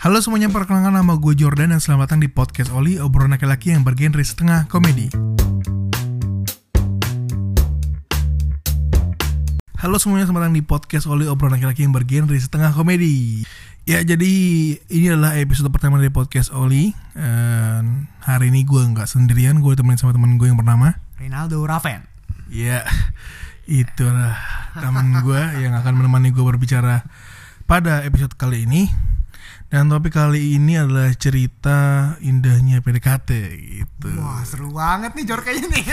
Halo semuanya, perkenalkan nama gue Jordan dan selamat datang di podcast Oli, obrolan laki-laki yang bergenre setengah komedi. Halo semuanya, selamat datang di podcast Oli, obrolan laki-laki yang bergenre setengah komedi. Ya, jadi ini adalah episode pertama dari podcast Oli. Eh, hari ini gue nggak sendirian, gue ditemenin sama teman gue yang bernama. Rinaldo Raven. Ya, itulah teman gue yang akan menemani gue berbicara pada episode kali ini. Dan topik kali ini adalah cerita indahnya PDKT gitu. Wah seru banget nih Jor kayaknya nih.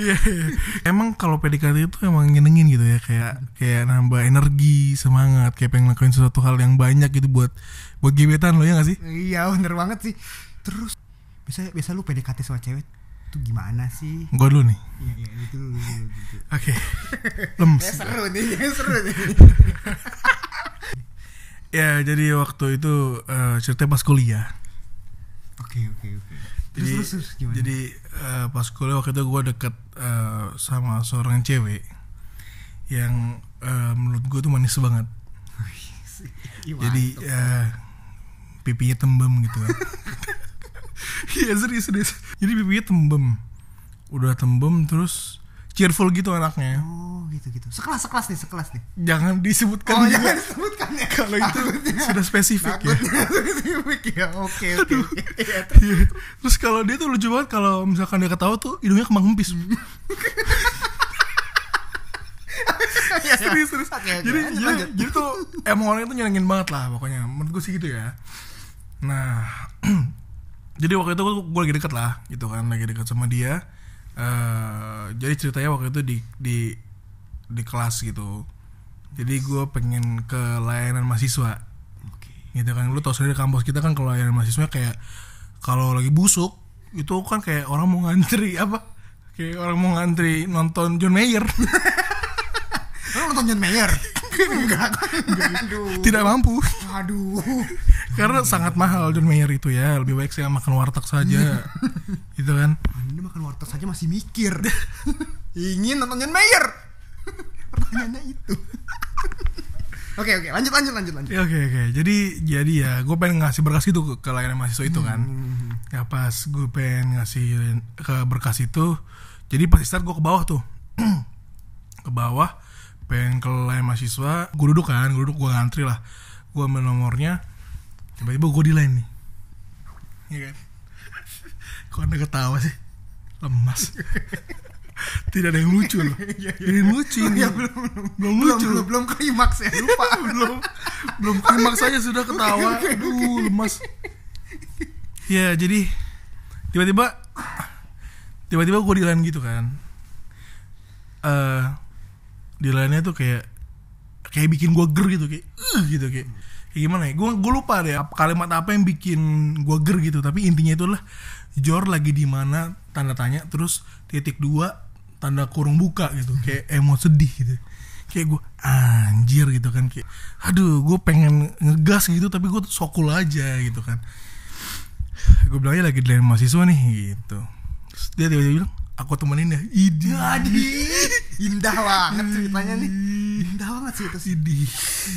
Iya, iya. emang kalau PDKT itu emang nyenengin gitu ya kayak kayak nambah energi, semangat, kayak pengen ngelakuin sesuatu hal yang banyak gitu buat buat gebetan lo ya gak sih? iya bener banget sih. Terus biasa biasa lu PDKT sama cewek tuh gimana sih? Gue dulu nih. Iya iya gitu dulu, dulu, gitu. Oke. Lemes. Ya seru nih, ya seru nih. Ya, jadi waktu itu eh, ceritanya pas kuliah. Oke oke oke. Terus Jadi, terus, terus gimana? jadi eh, pas kuliah waktu itu gue deket eh, sama seorang cewek yang eh, menurut gue tuh manis banget. Gimana? Jadi eh, pipinya tembem gitu. Iya serius serius. Jadi pipinya tembem. Udah tembem terus cheerful gitu anaknya. oh gitu gitu. Sekelas sekelas nih sekelas nih. Jangan disebutkan Oh juga jangan disebutkan ya. kalau itu sudah spesifik ya. Takutnya spesifik ya. Oke oke. oke. Iya, terus. Iya. Terus kalau dia tuh lucu banget kalau misalkan dia ketawa tuh hidungnya kembang empis. Iya, iya. serius serius Oke, oke. jadi Lanjut, jadi, lanjut. jadi tuh emang orangnya tuh nyenengin banget lah pokoknya menurut gue sih gitu ya nah jadi waktu itu gue lagi deket lah gitu kan lagi deket sama dia Eh, jadi ceritanya waktu itu di di di kelas gitu jadi gue pengen ke layanan mahasiswa Oke. gitu kan lu tau sendiri kampus kita kan kalau layanan mahasiswa kayak kalau lagi busuk itu kan kayak orang mau ngantri apa kayak orang mau ngantri nonton John Mayer Lu nonton John Mayer? Enggak. Aduh. tidak mampu Aduh. Karena sangat mahal John Mayer itu ya Lebih baik saya makan warteg saja Gitu kan Anda makan wortel saja masih mikir. Ingin nonton John Mayer. Pertanyaannya itu. oke oke lanjut lanjut lanjut lanjut. Ya, Oke oke Jadi jadi ya Gue pengen ngasih berkas itu ke, ke layanan mahasiswa itu kan Hmm. Ya pas gue pengen ngasih ke berkas itu Jadi pas start gue ke bawah tuh Ke bawah Pengen ke layanan mahasiswa Gue duduk kan Gue duduk gue ngantri lah Gue ambil nomornya Tiba-tiba gue di line nih Iya kan Kok anda ketawa sih Lemas Tidak ada yang lucu loh Tidak ada yang lucu ini Iya, belum belum Belum belum lucu belum, belum klimaks ya lupa. belum belum klimaks aja sudah ketawa Oke, oke, oke. aduh lemas ya jadi tiba-tiba tiba-tiba gue dilan gitu kan eh dilannya tuh kayak kayak bikin gue ger gitu kayak "Ugh," gitu kayak kayak gimana ya gue gue lupa deh ap- kalimat apa yang bikin gue ger gitu tapi intinya itu adalah Jor lagi di mana tanda tanya terus titik dua tanda kurung buka gitu kayak emot sedih gitu kayak gue anjir gitu kan kayak aduh gue pengen ngegas gitu tapi gue sokul aja gitu kan gue bilang "Ya, lagi di layanan mahasiswa nih gitu terus dia tiba-tiba bilang aku temenin ya ide Jadi indah banget ceritanya nih. Hmm. Indah banget sih itu sih. Idih.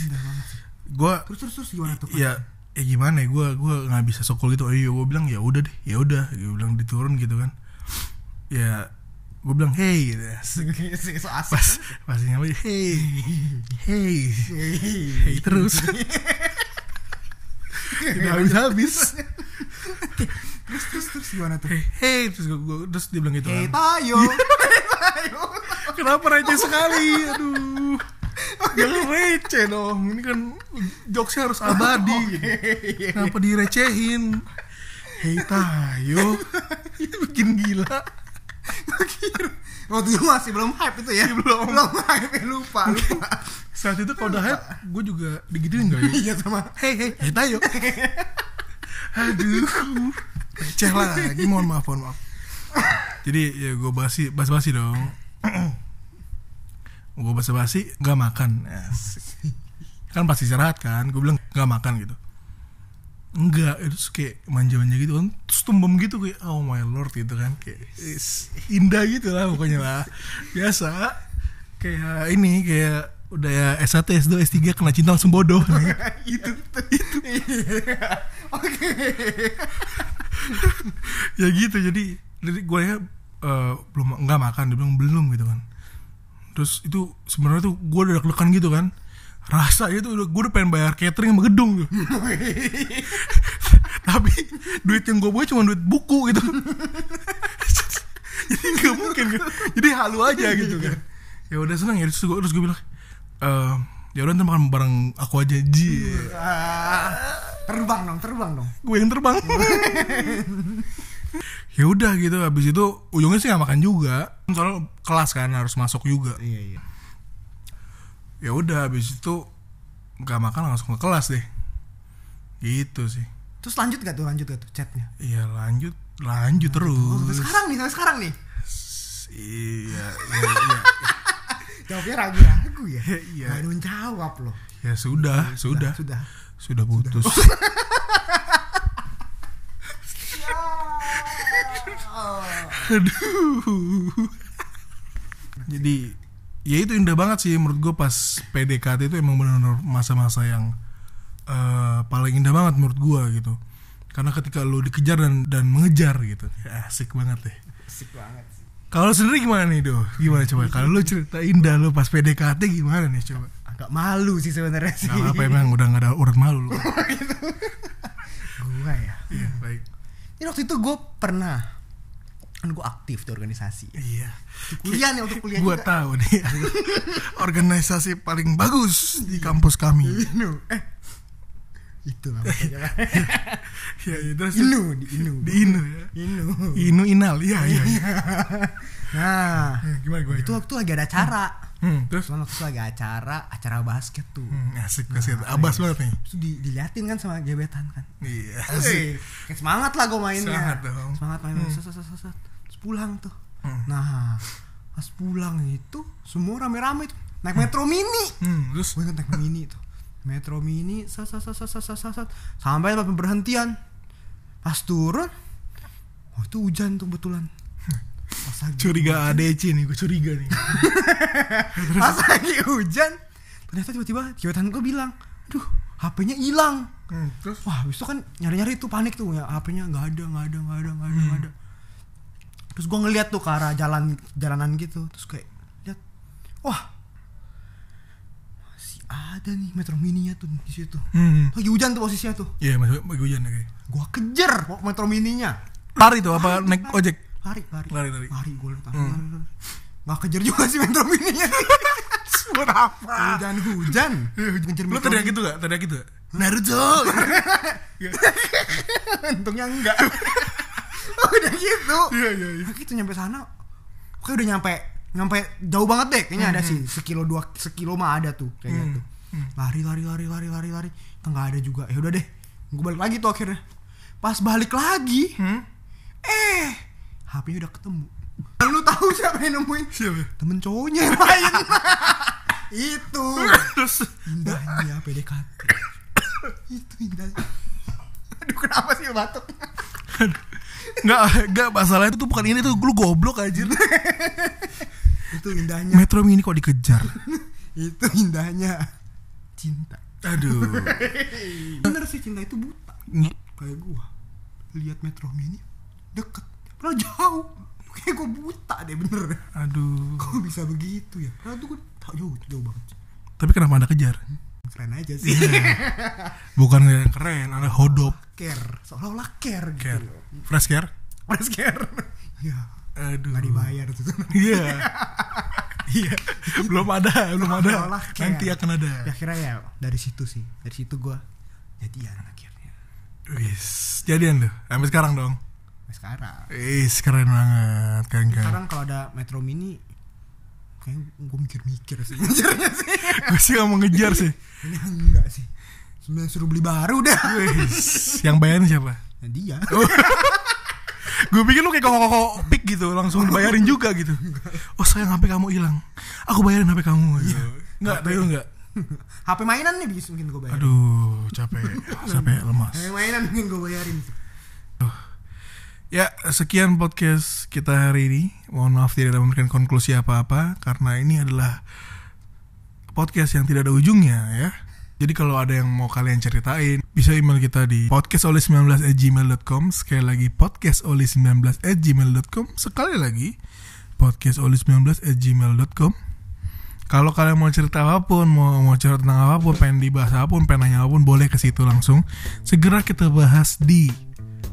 Indah banget. sih. gue Terus terus terus gimana tuh? Pak? ya ya gimana ya gue gue nggak bisa sokol gitu ayo gue bilang ya udah deh ya udah gue bilang diturun gitu kan ya gue bilang hey gitu Oke, sih, so pas asik. pas nyampe hey hey hey Hei. terus tidak habis habis Terus terus terus gimana tuh? hey hey terus gue, terus dia bilang gitu Hei kan Tayo. Hei, Tayo. kenapa receh sekali aduh jangan receh dong ini kan jokesnya harus abadi Oh, iya. gitu. kenapa direcehin hei tayo itu Iya, bikin gila Waktu itu masih belum hype itu ya? Belum. Belum hype lupa lupa. saat itu kalau udah hype gue juga digituin gak ya Iya sama hei hei hei Eh, tayo aduh receh lagi mohon maaf mohon maaf jadi ya gue basi bas basi dong gue basa basi nggak makan Asik. kan pasti istirahat kan gue bilang nggak makan gitu enggak itu kayak manja-manja gitu kan terus tumbem gitu kayak oh my lord gitu kan kayak is- indah gitu lah pokoknya lah biasa kayak ini kayak udah ya S1, S2, S3 kena cinta langsung bodoh. itu tuh. Oke. ya gitu jadi jadi gue ya eh, belum nggak makan dia bilang belum gitu kan terus itu sebenarnya tuh gue udah deg-degan gitu kan rasa itu udah gue udah pengen bayar catering sama gedung tuh. tapi duit yang gue bawa cuma duit buku gitu jadi nggak mungkin kan jadi halu aja gitu kan ya udah seneng ya terus gue terus gue bilang "Eh, ya udah ntar makan bareng aku aja ji Ah, terbang dong, terbang dong. gue yang terbang ya udah gitu habis itu ujungnya sih nggak makan juga soalnya kelas kan harus masuk juga Iya, iya. ya udah habis itu nggak makan langsung ke kelas deh gitu sih Terus lanjut gak tuh, lanjut gak tuh chatnya? iya lanjut lanjut Oh, sampai terus sekarang nih, sampai sekarang nih. iya iya iya Jawabnya ragu-ragu ya. Iya, iya. Gak ada yang jawab loh. ya sudah sudah Sudah. sudah putus aduh jadi ya itu indah banget sih menurut gue pas PDKT itu emang benar-benar masa-masa yang eh, paling indah banget menurut gue gitu karena ketika lu dikejar dan dan mengejar gitu ya, asik banget deh Asik banget sih. kalau lu sendiri gimana nih do gimana coba kalau lu cerita indah lu pas PDKT gimana nih coba Agak malu sih sebenarnya sih. Gak apa emang udah gak ada urat malu lu Gua ya. Iya, baik Ini waktu itu gue pernah kan gue aktif di organisasi ya. Iya. Kuliah nih untuk kuliah Gua juga. tahu nih. organisasi paling bagus di kampus kami. Inu. Eh. Itu lah makanya. Ya, ya, terus Inu, di Inu. Eh. di Inu ya. Inu. Inu Inal. Iya, iya. iya. Nah, Ya, Gimana gimana? itu gimana? waktu lagi ada acara. Hmm, terus Cuman waktu itu lagi acara, acara basket tuh. hmm, asik kasih abas banget nih. Terus di, diliatin kan sama gebetan kan. Iya, asik. Asik. Kayak semangat lah gue mainnya. Semangat dong. Hmm. Semangat main. Set, set, set, set, set. Terus pulang tuh. Nah, pas pulang itu semua rame-rame tuh. Naik metro mini. Hmm, terus Gue naik metro mini tuh. Metro mini, set, set, set, set, set, set, set, set. Sampai tempat berhentian. Pas turun, oh itu hujan tuh kebetulan. Pas lagi, curiga ADC nih, gue curiga nih. pas lagi hujan, ternyata tiba-tiba gebetan gue bilang, aduh HP-nya hilang. Hmm, terus Wah, habis itu kan nyari-nyari tuh panik tuh ya, HP-nya nggak ada, nggak ada, nggak ada, nggak ada, nggak ada. Terus gua ngeliat tuh ke arah jalan jalanan gitu, terus kayak lihat, wah masih ada nih metro mininya tuh di situ. Hmm. Lagi hujan tuh posisinya tuh. Iya, masuk bagi hujan ya, kayak. Gua kejar kok metro mininya. Lari tuh apa naik ojek? Lari, lari. Lari, lari. Hmm. Lari gua liat. lari, lari, lari. Nggak kejar juga sih metro mininya. Buat apa? Hujan-hujan. Ngejar Iya, Lu metro tadi gitu gak? Tadi gitu gak? Naruto. Iya. Untungnya enggak. udah gitu. Iya, iya, iya. Nah, gitu nyampe sana. Oke udah nyampe nyampe jauh banget deh kayaknya ada sih sekilo dua sekilo mah ada tuh kayaknya tuh lari lari lari lari lari lari nggak ada juga ya udah deh gue balik lagi tuh akhirnya pas balik lagi Hmm? eh HP-nya udah ketemu Dan lu tahu siapa yang nemuin Siapa? temen cowoknya yang lain itu Terus indahnya PDKT itu indahnya aduh kenapa sih lu batuk Enggak, enggak masalah itu tuh bukan ini tuh lu goblok anjir. itu indahnya Metro Mini kok dikejar? itu indahnya cinta Aduh. bener sih cinta itu buta kayak gua lihat metro mini deket padahal jauh kayak gua buta deh bener Aduh. kok bisa begitu ya padahal tuh gua tak jauh jauh banget Tapi kenapa Anda kejar? keren aja sih Bukan yang keren, Anda hodop. care seolah-olah care gitu Care. Fresh care? Mas care ya Aduh. nggak dibayar tuh Iya. Iya. Belum ada, belum ada. Seolah-olah care. Nanti akan ada. ya akhirnya ya dari situ sih dari situ gua jadian akhirnya Wis. Jadian lu. Sampai sekarang dong. sampai sekarang Wis, keren banget. Keren kan. sekarang kalau ada metro mini kayaknya gua mikir-mikir sih mikirnya sih Gue sih gak mau ngejar sih. Ini enggak sih. Sebenarnya suruh beli baru deh. Wis. Yang bayarin siapa? Nah, dia. Gue pikir lu kayak kok pik gitu, langsung dibayarin juga gitu. Oh sayang HP kamu hilang. Aku bayarin HP kamu. Iya. Gitu. Enggak, tapi lu enggak. HP mainan nih bisa mungkin gue bayarin. Aduh, capek, capek lemas. HP mainan mungkin gue bayarin. Ya, sekian podcast kita hari ini. Mohon maaf tidak ada memberikan konklusi apa-apa karena ini adalah podcast yang tidak ada ujungnya ya. Jadi kalau ada yang mau kalian ceritain, bisa email kita di podcastoli19@gmail.com. Sekali lagi podcastoli19@gmail.com. Sekali lagi podcastoli19@gmail.com. Kalau kalian mau cerita apapun, mau mau cerita tentang apapun, pengen dibahas apapun, pengen nanya apapun, boleh ke situ langsung. Segera kita bahas di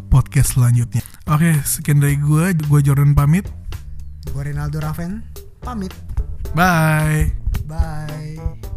podcast selanjutnya. Oke, sekian dari gue. Gue Jordan pamit. Gue Rinaldo Raven, pamit. Bye. Bye.